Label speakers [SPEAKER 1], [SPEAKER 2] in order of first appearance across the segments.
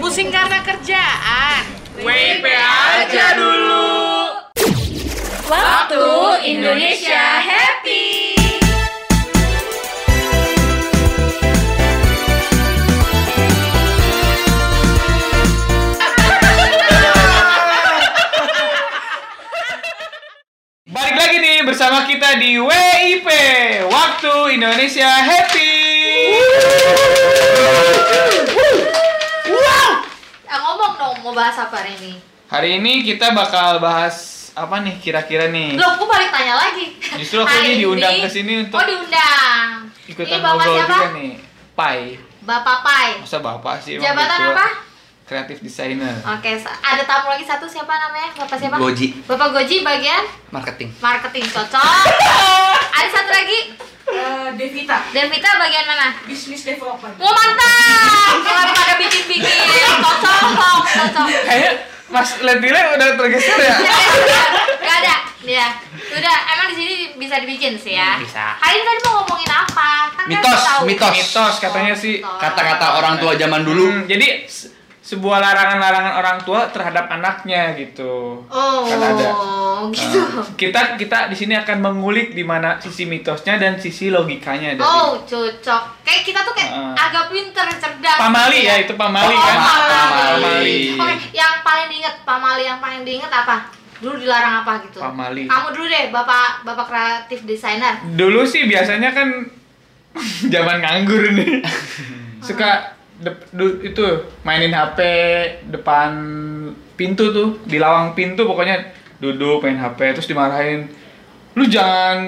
[SPEAKER 1] Pusing karena kerjaan.
[SPEAKER 2] WP aja dulu.
[SPEAKER 1] Waktu Indonesia Happy.
[SPEAKER 2] Balik lagi nih bersama kita di WIP Waktu Indonesia Happy.
[SPEAKER 1] Ah, ngomong dong mau bahas apa hari ini?
[SPEAKER 2] Hari ini kita bakal bahas apa nih kira-kira nih?
[SPEAKER 1] Loh, aku balik tanya lagi.
[SPEAKER 2] Justru aku
[SPEAKER 1] Hari
[SPEAKER 2] ini diundang ke sini untuk
[SPEAKER 1] Oh, diundang.
[SPEAKER 2] Ikutan
[SPEAKER 1] ini Bapak
[SPEAKER 2] ngobrol
[SPEAKER 1] siapa?
[SPEAKER 2] juga nih. Pai.
[SPEAKER 1] Bapak Pai.
[SPEAKER 2] Masa bapak sih? emang
[SPEAKER 1] Jabatan
[SPEAKER 2] gitu?
[SPEAKER 1] apa?
[SPEAKER 2] Kreatif designer.
[SPEAKER 1] Oke, sa- ada tamu lagi satu siapa namanya? Bapak siapa?
[SPEAKER 3] Goji
[SPEAKER 1] Bapak Goji bagian
[SPEAKER 3] marketing.
[SPEAKER 1] marketing cocok. ada satu lagi
[SPEAKER 4] Eh, Devita,
[SPEAKER 1] Devita bagian mana?
[SPEAKER 4] bisnis developer.
[SPEAKER 1] Wah mantap! Kalau pada bikin-bikin, cocok, cocok.
[SPEAKER 2] Kayaknya Mas Lentile udah tergeser ya?
[SPEAKER 1] Iya. Gak ada, ya. Udah, emang di sini bisa dibikin sih ya.
[SPEAKER 3] Bisa.
[SPEAKER 1] Hari ini tadi mau ngomongin apa? Kan kan
[SPEAKER 3] Mitos,
[SPEAKER 1] tahu.
[SPEAKER 3] mitos.
[SPEAKER 2] Hmm, Mitos katanya sih.
[SPEAKER 1] Mitos.
[SPEAKER 3] Kata-kata orang tua zaman
[SPEAKER 2] Hmm,
[SPEAKER 3] dulu.
[SPEAKER 2] jadi se- sebuah larangan-larangan orang tua terhadap anaknya gitu.
[SPEAKER 1] Oh,
[SPEAKER 2] Kan ada.
[SPEAKER 1] gitu.
[SPEAKER 2] Nah, kita kita di sini akan mengulik di mana sisi mitosnya dan sisi logikanya dari
[SPEAKER 1] Oh, cocok. Kayak kita tuh kayak
[SPEAKER 2] Heeh.
[SPEAKER 1] agak pinter, cerdas.
[SPEAKER 2] Pamali
[SPEAKER 1] gitu
[SPEAKER 2] ya itu Pamali
[SPEAKER 1] Oh,
[SPEAKER 2] kan.
[SPEAKER 1] Pamali.
[SPEAKER 3] Pamali.
[SPEAKER 1] Oke, yang paling diinget Pamali yang paling diinget apa? Dulu dilarang apa gitu?
[SPEAKER 2] Pamali.
[SPEAKER 1] Kamu dulu deh, bapak bapak kreatif desainer.
[SPEAKER 2] Dulu sih biasanya kan zaman nganggur nih. Suka de- du- itu mainin HP depan pintu tuh, di lawang pintu pokoknya duduk main HP terus dimarahin. Lu jangan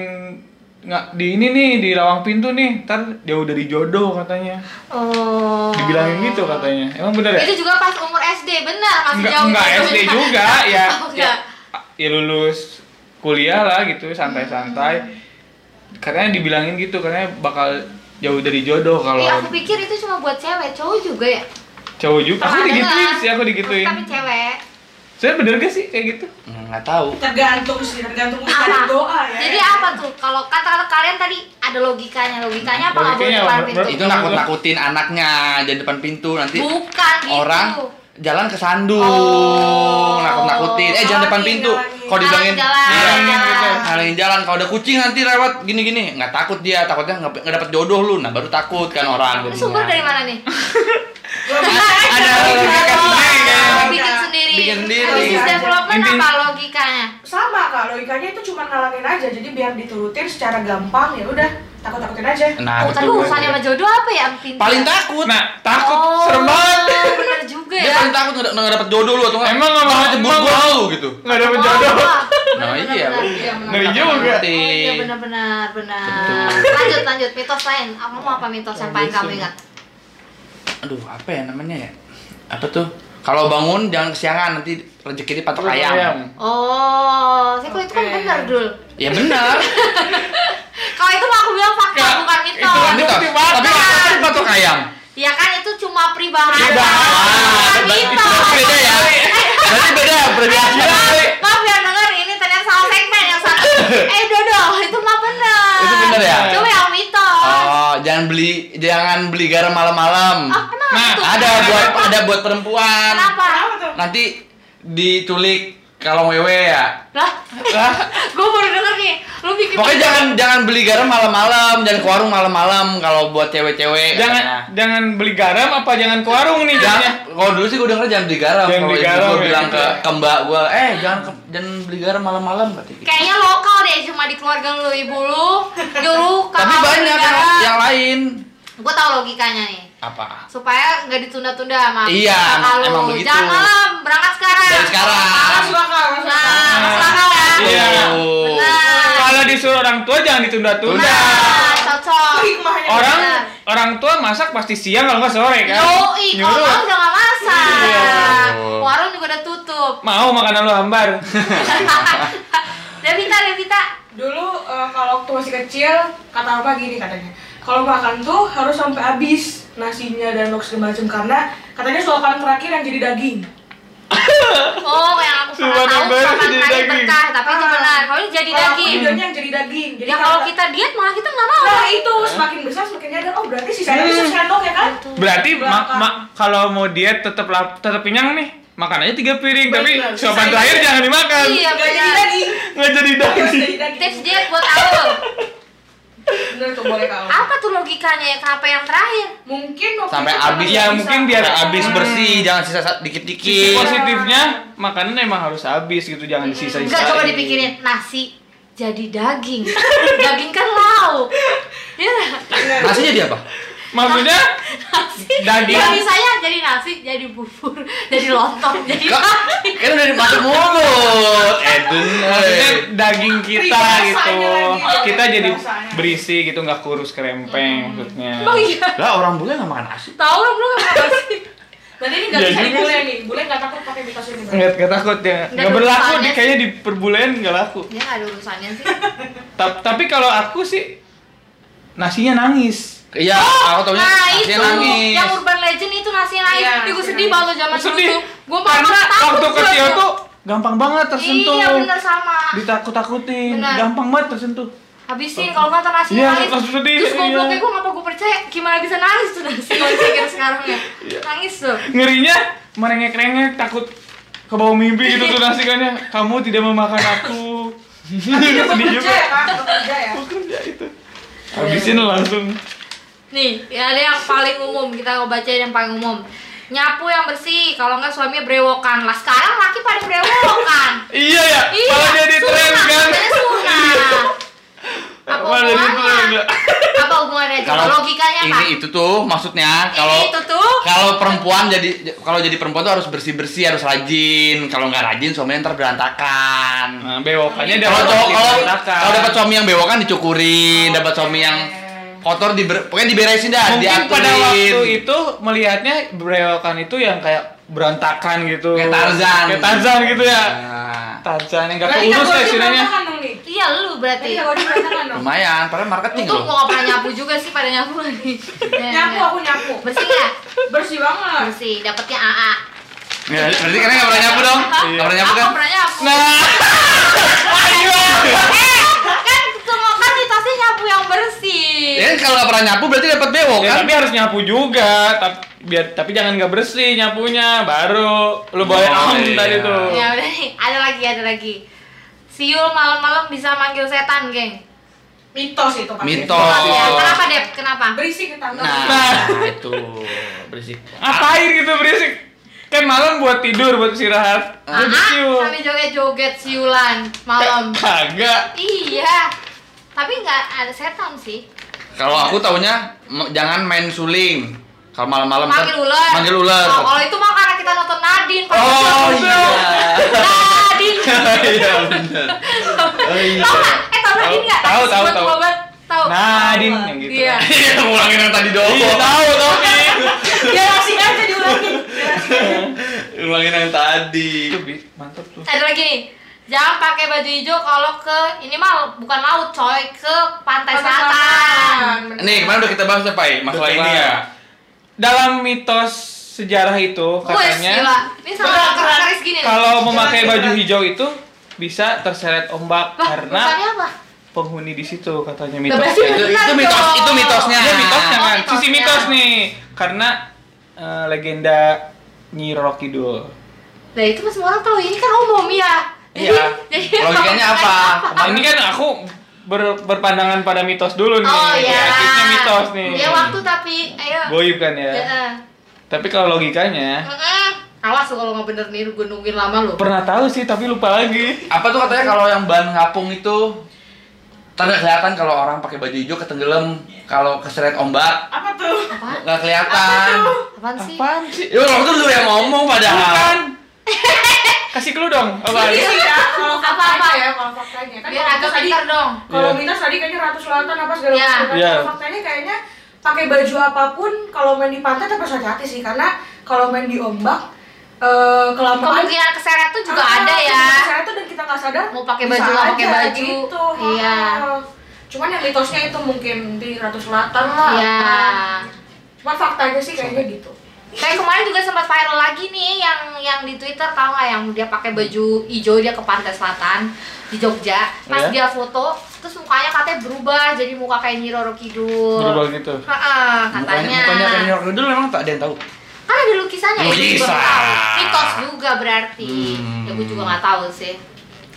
[SPEAKER 2] nggak di ini nih di lawang pintu nih, ntar jauh dari jodoh katanya.
[SPEAKER 1] Oh.
[SPEAKER 2] Dibilangin gitu katanya. Emang bener ya?
[SPEAKER 1] Itu juga pas umur SD, benar masih
[SPEAKER 2] Enggak,
[SPEAKER 1] jauh.
[SPEAKER 2] enggak
[SPEAKER 1] gitu.
[SPEAKER 2] SD juga ya.
[SPEAKER 1] Oh,
[SPEAKER 2] ya.
[SPEAKER 1] enggak.
[SPEAKER 2] Ya lulus kuliah lah gitu, santai-santai.
[SPEAKER 1] Hmm.
[SPEAKER 2] Katanya dibilangin gitu, katanya bakal jauh dari jodoh kalau
[SPEAKER 1] Iya, aku pikir itu cuma buat cewek, cowok juga ya.
[SPEAKER 2] cowok juga. Aku
[SPEAKER 1] Pernah
[SPEAKER 2] digituin
[SPEAKER 1] dengar.
[SPEAKER 2] sih, aku digituin.
[SPEAKER 1] kan Tapi cewek.
[SPEAKER 2] Saya bener gak sih kayak gitu?
[SPEAKER 3] "Hmm, Nggak tahu.
[SPEAKER 4] Tergantung sih, tergantung
[SPEAKER 1] Apa?
[SPEAKER 4] ustaz doa ya.
[SPEAKER 1] Jadi apa tuh? Kalau kata-kata kalian tadi ada logikanya, logikanya apa nggak boleh
[SPEAKER 2] Logikanya
[SPEAKER 1] depan
[SPEAKER 2] apa?
[SPEAKER 1] pintu?
[SPEAKER 3] Itu nakut-nakutin anaknya jadi depan pintu nanti
[SPEAKER 1] Bukan gitu.
[SPEAKER 3] orang jalan kesandung
[SPEAKER 1] Oh.
[SPEAKER 3] nakut-nakutin. Eh jangan depan
[SPEAKER 4] Halangin,
[SPEAKER 3] pintu.
[SPEAKER 4] halangin.
[SPEAKER 3] Kalau dibilangin
[SPEAKER 1] Halangin jalan,
[SPEAKER 3] Iya,
[SPEAKER 2] halangin
[SPEAKER 3] gitu.
[SPEAKER 2] jalan.
[SPEAKER 3] halangin jalan. Kalau ada kucing nanti lewat gini-gini nggak takut dia, takutnya nggak nggak dapet jodoh lu. Nah baru takut kan orang.
[SPEAKER 1] Ini
[SPEAKER 3] jadinya.
[SPEAKER 1] sumber dari mana nih?
[SPEAKER 3] Ada logika
[SPEAKER 1] Oh,
[SPEAKER 3] sendiri kan.
[SPEAKER 1] kan? bikin sendiri.
[SPEAKER 3] Bikin sendiri.
[SPEAKER 1] Business development
[SPEAKER 2] Inti-
[SPEAKER 1] apa logikanya?
[SPEAKER 4] Sama kak, logikanya itu cuma ngalangin aja, jadi biar diturutin secara gampang ya udah takut-takutin aja.
[SPEAKER 3] Nah
[SPEAKER 1] Oh, tapi
[SPEAKER 3] betul.
[SPEAKER 1] urusannya sama jodoh apa ya? Pintu.
[SPEAKER 3] Paling takut.
[SPEAKER 2] Nah, takut
[SPEAKER 1] Oh,
[SPEAKER 2] serem banget.
[SPEAKER 1] Bener juga
[SPEAKER 3] Dia
[SPEAKER 1] ya.
[SPEAKER 3] paling takut nggak nggak dapet jodoh lu atau nggak?
[SPEAKER 2] Emang nggak
[SPEAKER 3] Takut
[SPEAKER 2] mau-
[SPEAKER 3] cemburu
[SPEAKER 2] emang-
[SPEAKER 3] gua lu gitu.
[SPEAKER 2] Nggak dapet
[SPEAKER 1] Oh,
[SPEAKER 2] jodoh.
[SPEAKER 3] Nah,
[SPEAKER 1] bener,
[SPEAKER 3] iya,
[SPEAKER 1] bener,
[SPEAKER 3] bener.
[SPEAKER 1] iya, bener.
[SPEAKER 2] Ngeri juga.
[SPEAKER 1] Oh iya benar-benar benar.
[SPEAKER 3] Betul.
[SPEAKER 1] Lanjut lanjut mitos lain. Apa mau apa mitos yang paling kamu ingat?
[SPEAKER 3] aduh apa ya namanya ya apa tuh kalau bangun jangan kesiangan nanti rezeki di patok ayam
[SPEAKER 1] Oh, sih kalau itu kan
[SPEAKER 4] Oke.
[SPEAKER 1] benar dul.
[SPEAKER 3] ya benar
[SPEAKER 1] Kalau itu mah aku bilang fakta
[SPEAKER 3] Iya.
[SPEAKER 2] Nggak,
[SPEAKER 1] bukan
[SPEAKER 2] itu
[SPEAKER 1] mitos.
[SPEAKER 2] kan
[SPEAKER 3] Nanti
[SPEAKER 2] mitos.
[SPEAKER 3] tos. gitu. tapi apa tuh patok ayam
[SPEAKER 1] Ya kan itu cuma pribahasa.
[SPEAKER 3] Pribahasa.
[SPEAKER 1] Bukan
[SPEAKER 3] Berarti
[SPEAKER 1] mitos.
[SPEAKER 3] beda ya Eh. berarti beda perbedaan
[SPEAKER 1] Maaf ya denger ini ternyata salah segmen yang satu. Eh Dodo, itu mah benar.
[SPEAKER 3] Itu benar ya?
[SPEAKER 1] Cuma yang mitos.
[SPEAKER 3] oh jangan beli jangan beli garam malam-malam
[SPEAKER 1] Oh, emang
[SPEAKER 2] Nah,
[SPEAKER 1] itu?
[SPEAKER 3] ada buat ada buat perempuan
[SPEAKER 1] Kenapa?
[SPEAKER 4] Apa tuh?
[SPEAKER 3] nanti diculik kalau wewe ya
[SPEAKER 1] Lah,
[SPEAKER 3] Lah,
[SPEAKER 1] gue baru denger nih. Lu bikin
[SPEAKER 3] pokoknya jangan jangan beli garam malam-malam jangan ke warung malam-malam kalau buat cewek-cewek Nah.
[SPEAKER 2] Jangan
[SPEAKER 3] katanya.
[SPEAKER 2] jangan beli garam apa jangan ke warung nih jadinya.
[SPEAKER 3] Jangan, kalau dulu sih gue denger jangan beli garam.
[SPEAKER 2] Jangan beli garam,
[SPEAKER 3] Gue
[SPEAKER 2] ya.
[SPEAKER 3] bilang ke, ke mbak gue, eh jangan ke- jangan beli garam malam-malam katanya. gitu.
[SPEAKER 1] Kayaknya lokal deh, cuma di keluarga lu, ibu lu nyuruh
[SPEAKER 3] Tapi banyak yang, yang lain.
[SPEAKER 1] Gue tau logikanya nih
[SPEAKER 3] Apa?
[SPEAKER 1] supaya nggak ditunda-tunda sama
[SPEAKER 3] Iya,
[SPEAKER 1] kakak lu.
[SPEAKER 3] emang begitu.
[SPEAKER 1] Jangan malam, berangkat sekarang.
[SPEAKER 3] Dari sekarang.
[SPEAKER 4] Masuk akal, masuk akal.
[SPEAKER 1] Nah, masuk akal ya.
[SPEAKER 2] Iya.
[SPEAKER 3] Tuh.
[SPEAKER 1] Benar.
[SPEAKER 2] Kalau disuruh orang tua jangan ditunda-tunda.
[SPEAKER 3] Tunda.
[SPEAKER 1] Nah, cocok.
[SPEAKER 4] Itu hikmahnya.
[SPEAKER 2] Orang
[SPEAKER 1] Benar.
[SPEAKER 2] orang tua masak pasti siang kalau nggak sore kan.
[SPEAKER 1] Iya. Yoi,
[SPEAKER 2] Nyuruh.
[SPEAKER 1] kalau mau udah nggak
[SPEAKER 2] Iya.
[SPEAKER 1] masak. Warung juga udah tutup.
[SPEAKER 2] Mau makanan lu hambar.
[SPEAKER 1] Devita, Devita.
[SPEAKER 4] Dulu eh, kalau waktu masih kecil, kata apa gini katanya. Kalau makan tuh harus sampai habis nasinya dan lox segala macam karena katanya suapan terakhir yang jadi daging.
[SPEAKER 1] Oh, yang aku
[SPEAKER 2] Cuma
[SPEAKER 1] pernah tahu
[SPEAKER 2] nambah
[SPEAKER 1] kapan
[SPEAKER 2] jadi
[SPEAKER 1] terakhir
[SPEAKER 2] daging.
[SPEAKER 1] berkah, tapi itu
[SPEAKER 4] Ah.
[SPEAKER 1] benar. Kalau ini jadi
[SPEAKER 4] Kalau
[SPEAKER 1] daging.
[SPEAKER 4] videonya yang jadi daging. Jadi
[SPEAKER 1] Ya kalau Nah,
[SPEAKER 4] kata-
[SPEAKER 1] kita diet malah kita nggak mau. Hmm.
[SPEAKER 4] Nah itu semakin besar semakin nyadar oh berarti sisanya itu sendok ya kan?
[SPEAKER 1] Betul.
[SPEAKER 2] Berarti ma-
[SPEAKER 4] Belakang.
[SPEAKER 2] ma- kalau mau diet tetap lap- tetap kenyang nih, makan aja tiga piring, tapi
[SPEAKER 4] Bener.
[SPEAKER 2] suapan
[SPEAKER 4] Bisa
[SPEAKER 2] terakhir
[SPEAKER 4] aja.
[SPEAKER 2] jangan dimakan.
[SPEAKER 1] Iya.
[SPEAKER 4] Gak jadi lagi.
[SPEAKER 2] Nggak jadi
[SPEAKER 4] Gak
[SPEAKER 2] daging.
[SPEAKER 4] jadi lagi.
[SPEAKER 1] Tips diet buat aku.
[SPEAKER 4] Bener tuh boleh kalau.
[SPEAKER 1] Apa tuh logikanya ya? Kenapa yang terakhir?
[SPEAKER 4] Mungkin waktu
[SPEAKER 3] Sampai
[SPEAKER 4] itu karena
[SPEAKER 3] habis.
[SPEAKER 4] gak
[SPEAKER 2] Ya,
[SPEAKER 4] bisa.
[SPEAKER 2] mungkin biar
[SPEAKER 3] Biar habis
[SPEAKER 2] Hmm.
[SPEAKER 3] bersih, jangan sisa sa-
[SPEAKER 2] Sisi
[SPEAKER 3] dikit-dikit.
[SPEAKER 4] Iya.
[SPEAKER 2] positifnya makanan emang harus habis gitu, jangan disisa-sisa.
[SPEAKER 1] Enggak Iya. coba dipikirin nasi jadi daging. daging kan lauk. Iya. nggak?
[SPEAKER 4] Bener.
[SPEAKER 3] Nasi jadi apa?
[SPEAKER 2] Maksudnya
[SPEAKER 1] Nasi.
[SPEAKER 2] Daging.
[SPEAKER 1] Ya misalnya jadi nasi, jadi bubur, jadi lontong, jadi
[SPEAKER 3] Kak,
[SPEAKER 1] daging.
[SPEAKER 3] kan udah dimasuk mulut. Eh, Edun.
[SPEAKER 2] maksudnya daging kita
[SPEAKER 4] Peribahasanya
[SPEAKER 2] gitu.
[SPEAKER 4] lagi, ya,
[SPEAKER 2] Kita jadi
[SPEAKER 4] peribahasanya.
[SPEAKER 2] berisi gitu, nggak kurus kerempeng maksudnya.
[SPEAKER 1] Emang iya.
[SPEAKER 3] Lah orang bule nggak makan nasi.
[SPEAKER 1] Tahu lah belum apa sih?
[SPEAKER 4] Berarti ini gak
[SPEAKER 2] Ya
[SPEAKER 4] bisa
[SPEAKER 2] juga
[SPEAKER 4] dibule
[SPEAKER 2] sih.
[SPEAKER 4] nih. Bule gak takut pakai mitos ini. Bang.
[SPEAKER 2] Nggak, nggak takut ya.
[SPEAKER 1] Nggak
[SPEAKER 2] Nggak
[SPEAKER 1] ada
[SPEAKER 2] berlaku,
[SPEAKER 1] urusannya
[SPEAKER 2] di,
[SPEAKER 1] sih.
[SPEAKER 2] kayaknya di perbulan nggak laku.
[SPEAKER 1] Dia enggak Ya, ada urusannya sih.
[SPEAKER 2] Ta- tapi kalau aku sih nasinya nangis.
[SPEAKER 3] Iya, aku taunya
[SPEAKER 1] Nah
[SPEAKER 3] nasinya
[SPEAKER 1] itu
[SPEAKER 3] nangis.
[SPEAKER 1] yang urban legend itu nasi nangis.
[SPEAKER 4] Iya,
[SPEAKER 1] Ih, gue
[SPEAKER 4] nasi
[SPEAKER 1] sedih
[SPEAKER 4] nangis.
[SPEAKER 1] banget tuh zaman dulu
[SPEAKER 2] Sedih.
[SPEAKER 1] tuh. Gue
[SPEAKER 2] Karena waktu kecil tuh gampang banget tersentuh.
[SPEAKER 1] Iya bener sama.
[SPEAKER 2] Ditakut-takutin,
[SPEAKER 1] Bener.
[SPEAKER 2] gampang banget tersentuh.
[SPEAKER 1] Habisin kalau nggak tuh nasi
[SPEAKER 2] Iya,
[SPEAKER 1] nangis.
[SPEAKER 2] langsung sedih,
[SPEAKER 1] Terus
[SPEAKER 2] iya.
[SPEAKER 1] gobloknya gue ngapa gue percaya? Gimana bisa nangis tuh nasi gue pikir sekarang ya?
[SPEAKER 2] Iya.
[SPEAKER 1] Nangis tuh.
[SPEAKER 2] Ngerinya merengek-rengek takut ke bawah mimpi gitu tuh nasi kan ya. Kamu tidak memakan aku.
[SPEAKER 4] Dia
[SPEAKER 2] Sedih
[SPEAKER 4] bekerja
[SPEAKER 2] juga.
[SPEAKER 4] ya kak, bekerja ya.
[SPEAKER 2] Bekerja itu. Habisin langsung.
[SPEAKER 1] Nih, ya ada yang paling umum kita bacain yang paling umum. Nyapu yang bersih, kalau nggak suaminya brewokan. Lah sekarang laki pada brewokan.
[SPEAKER 2] Iya ya, malah jadi tren
[SPEAKER 1] sunnah,
[SPEAKER 2] kan.
[SPEAKER 1] katanya sunnah. Apa
[SPEAKER 2] Malah jadi
[SPEAKER 1] hubungannya?
[SPEAKER 2] tren.
[SPEAKER 1] Apa hubungannya? Coba logikanya
[SPEAKER 3] ini
[SPEAKER 1] kan.
[SPEAKER 3] itu tuh maksudnya kalau
[SPEAKER 1] itu tuh.
[SPEAKER 3] kalau perempuan jadi kalau jadi perempuan tuh harus bersih bersih harus rajin kalau nggak rajin suaminya ntar berantakan
[SPEAKER 2] Nah, bewokannya dia
[SPEAKER 3] kalau cowok kalau
[SPEAKER 2] berantakan. Oh,
[SPEAKER 3] kalau dapat suami yang bewokan dicukurin dapat suami yang
[SPEAKER 4] Eh.
[SPEAKER 3] kotor di pokoknya diberesin dah
[SPEAKER 2] Mungkin
[SPEAKER 3] diaturin
[SPEAKER 2] pada waktu itu melihatnya berewokan itu yang kayak berantakan gitu.
[SPEAKER 3] kayak Tarzan
[SPEAKER 2] Kayak Tarzan gitu ya.
[SPEAKER 3] Nah,
[SPEAKER 2] Tarzan yang gak
[SPEAKER 4] Berarti
[SPEAKER 2] keurus
[SPEAKER 4] gua
[SPEAKER 2] ya
[SPEAKER 4] sih
[SPEAKER 2] istilahnya.
[SPEAKER 4] berantakan dong nih.
[SPEAKER 1] Iya lu
[SPEAKER 4] Berarti
[SPEAKER 1] berarti.
[SPEAKER 4] gak gua sih berantakan dong.
[SPEAKER 3] Nah, lumayan padahal marketing
[SPEAKER 1] Untung gua
[SPEAKER 3] loh
[SPEAKER 1] nggak pernah nyapu juga sih pada nyapu lagi.
[SPEAKER 4] Nyapu aku nyapu.
[SPEAKER 1] Bersih nggak?
[SPEAKER 4] Bersih banget.
[SPEAKER 1] Bersih. Dapatnya AA.
[SPEAKER 3] ya, berarti kalian nggak pernah nyapu dong
[SPEAKER 1] Hah?
[SPEAKER 3] nggak pernah nyapu
[SPEAKER 1] Aku
[SPEAKER 3] kan
[SPEAKER 1] pernah nyapu.
[SPEAKER 2] Nah,
[SPEAKER 1] Eh, kan semua kan ditosnya nyapu yang bersih.
[SPEAKER 3] ya kan kalau nggak pernah nyapu berarti dapat bewok
[SPEAKER 2] ya,
[SPEAKER 3] kan
[SPEAKER 2] tapi harus nyapu juga. Tapi biar tapi jangan gak bersih nyapunya baru lu bawa
[SPEAKER 3] Oh,
[SPEAKER 2] am
[SPEAKER 3] iya.
[SPEAKER 2] tadi tuh.
[SPEAKER 1] Ya udah nih, ada lagi, ada lagi. Siul malam-malam bisa manggil setan, geng.
[SPEAKER 4] Mitos itu pasti.
[SPEAKER 3] Mitos. Oh.
[SPEAKER 1] Ya, kenapa, Dep? Kenapa?
[SPEAKER 4] Berisik kita.
[SPEAKER 3] nah itu berisik
[SPEAKER 2] Ngapain gitu berisik? Kan malam buat tidur, buat istirahat.
[SPEAKER 1] Ah,
[SPEAKER 2] Lu disiul.
[SPEAKER 1] sampai joget-joget siulan malam.
[SPEAKER 2] Kagak.
[SPEAKER 1] iya. Tapi nggak ada setan sih.
[SPEAKER 3] Kalau aku taunya m- jangan main suling. Kalau malam-malam kan-
[SPEAKER 1] Manggil ular.
[SPEAKER 3] Manggil ular.
[SPEAKER 1] Oh, kalau itu mah karena kita nonton Nadine. Pak.
[SPEAKER 3] Oh, iya.
[SPEAKER 1] Nadine.
[SPEAKER 3] Iya benar. Oh iya.
[SPEAKER 1] Tahu nggak? Eh tahu Nadine nggak?
[SPEAKER 2] Tahu, tahu,
[SPEAKER 1] Buat
[SPEAKER 2] tahu.
[SPEAKER 1] obat, Tahu.
[SPEAKER 2] Nadine yang gitu.
[SPEAKER 1] Iya.
[SPEAKER 3] Iya, ngulangin yang tadi doang.
[SPEAKER 2] Iya, tahu tapi.
[SPEAKER 4] Jelasin aja diulangi.
[SPEAKER 3] Ngulangin yang tadi.
[SPEAKER 2] Itu bi- mantap tuh.
[SPEAKER 1] Ada lagi nih. Jangan pakai baju hijau kalau ke ini mah bukan laut coy, ke pantai, selatan.
[SPEAKER 3] Nih, kemarin udah kita bahas ya, Pai, masalah
[SPEAKER 2] Betul
[SPEAKER 3] ini ya.
[SPEAKER 2] banget. Dalam mitos sejarah itu
[SPEAKER 1] Wih, gila.
[SPEAKER 2] katanya
[SPEAKER 1] Ini sama
[SPEAKER 4] Berat,
[SPEAKER 1] keris gini. nih.
[SPEAKER 2] kalau memakai
[SPEAKER 4] Sejarah,
[SPEAKER 2] baju
[SPEAKER 4] sejarah.
[SPEAKER 2] hijau itu bisa terseret ombak
[SPEAKER 1] Lah,
[SPEAKER 2] karena
[SPEAKER 1] bukannya apa?
[SPEAKER 2] penghuni di situ katanya
[SPEAKER 1] berarti
[SPEAKER 2] mitosnya.
[SPEAKER 3] Itu,
[SPEAKER 1] Benar
[SPEAKER 3] itu mitos,
[SPEAKER 1] dong.
[SPEAKER 3] itu mitosnya.
[SPEAKER 2] Iya mitosnya
[SPEAKER 1] Oh,
[SPEAKER 2] kan, sisi
[SPEAKER 1] mitosnya.
[SPEAKER 2] mitos nih karena eh, legenda Nyi Roro Kidul.
[SPEAKER 1] Nah, itu mah semua orang tahu. Ini kan umum ya. Jadi-
[SPEAKER 3] Iya.
[SPEAKER 1] jadi-
[SPEAKER 3] Logikanya apa?
[SPEAKER 2] Nah, ini kan aku ber- berpandangan pada mitos dulu nih.
[SPEAKER 1] Oh
[SPEAKER 2] Ya,
[SPEAKER 1] iya.
[SPEAKER 2] tipsnya mitos nih.
[SPEAKER 1] Ya waktu Iya. tapi ayo.
[SPEAKER 2] Goib kan ya.
[SPEAKER 1] Heeh.
[SPEAKER 2] Tapi kalau logikanya
[SPEAKER 1] Heeh. Awas lu kalau nggak bener nih gue nungguin lama lo.
[SPEAKER 2] pernah tahu sih tapi lupa lagi.
[SPEAKER 3] Apa tuh katanya kalau yang ban ngapung itu tanda kelihatan kalau orang pakai baju hijau ketenggelam, kalau keseret ombak
[SPEAKER 4] Apa tuh?
[SPEAKER 1] Apa?
[SPEAKER 3] nggak kelihatan.
[SPEAKER 1] Apaan sih?
[SPEAKER 2] Apaan sih?
[SPEAKER 3] Ya orang tuh udah yang ngomong
[SPEAKER 2] Bukan.
[SPEAKER 3] padahal.
[SPEAKER 2] Kasih clue dong. Apa?
[SPEAKER 4] Berisik ya. Kalau
[SPEAKER 1] Apa-apa?
[SPEAKER 4] faktanya ya, kalau faktanya. Kan
[SPEAKER 1] Biar
[SPEAKER 4] kalau
[SPEAKER 1] agak
[SPEAKER 4] tadi-
[SPEAKER 1] pintar dong.
[SPEAKER 4] Kalau
[SPEAKER 2] Iya.
[SPEAKER 4] mitos tadi kayaknya ratus lautan apa segala
[SPEAKER 1] Iya.
[SPEAKER 4] macam.
[SPEAKER 2] Iya.
[SPEAKER 4] Kalau faktanya kayaknya pakai baju apapun kalau main di pantai tetap harus hati-hati sih karena kalau main di ombak eh kelamaan
[SPEAKER 1] Kemungkinan keseret tuh juga
[SPEAKER 4] Ah,
[SPEAKER 1] ada ya.
[SPEAKER 4] cuma Saya tuh dan kita nggak sadar
[SPEAKER 1] Mau pakai
[SPEAKER 4] bisa
[SPEAKER 1] baju, nggak
[SPEAKER 4] aja
[SPEAKER 1] pakai baju.
[SPEAKER 4] gitu.
[SPEAKER 1] Iya.
[SPEAKER 4] Ah. Cuman yang mitosnya itu mungkin di Ratu Selatan lah.
[SPEAKER 1] Iya.
[SPEAKER 4] Ah. Cuman faktanya sih kayaknya gitu.
[SPEAKER 1] Kayak kemarin juga sempat viral lagi nih yang yang di Twitter tau nggak yang dia pakai baju hijau dia ke pantai selatan di Jogja. Pas
[SPEAKER 2] Iya.
[SPEAKER 1] dia foto terus muka mukanya katanya berubah jadi muka kayak Nyi Roro Kidul.
[SPEAKER 2] berubah gitu
[SPEAKER 1] Heeh, katanya.
[SPEAKER 3] Mukanya, mukanya kayak New York dulu emang tak ada yang tahu.
[SPEAKER 1] Kan ada lukisannya ya, itu juga
[SPEAKER 3] Lukisan.
[SPEAKER 1] nggak tahu. Mitos juga berarti.
[SPEAKER 3] Hmm.
[SPEAKER 1] Ya gue juga nggak tahu sih.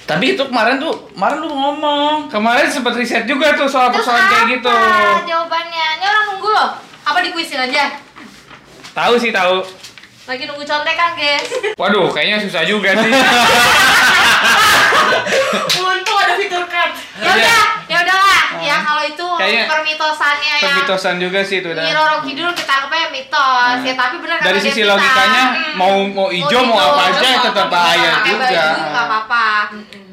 [SPEAKER 3] Tapi itu kemarin tuh, kemarin lu ngomong.
[SPEAKER 2] kemarin sempat riset juga tuh soal
[SPEAKER 1] Terus
[SPEAKER 2] persoalan
[SPEAKER 1] apa
[SPEAKER 2] kayak gitu
[SPEAKER 1] jawabannya? Ini orang nunggu loh. Apa dikuisin aja?
[SPEAKER 2] tahu sih tahu
[SPEAKER 1] Lagi nunggu contekan, guys.
[SPEAKER 2] waduh kayaknya susah juga sih
[SPEAKER 4] Untung ada fitur cut.
[SPEAKER 1] ya udah, ya udahlah. Ya kalau itu
[SPEAKER 2] Iya. Ah. Kayaknya
[SPEAKER 1] permitosannya yang
[SPEAKER 2] pemitosan juga sih itu
[SPEAKER 1] Nyi
[SPEAKER 2] dan
[SPEAKER 1] Roro Kidul kita anggapnya mitos. Ya tapi benar
[SPEAKER 2] Ah. dari
[SPEAKER 1] kata dia
[SPEAKER 2] sisi
[SPEAKER 1] kita.
[SPEAKER 2] logikanya mau mau hijau mau
[SPEAKER 1] hijau,
[SPEAKER 2] apa aja
[SPEAKER 1] mau
[SPEAKER 2] tetap
[SPEAKER 1] apa Iya,
[SPEAKER 2] bahaya
[SPEAKER 1] pakai baju
[SPEAKER 2] juga
[SPEAKER 1] nggak apa-apa.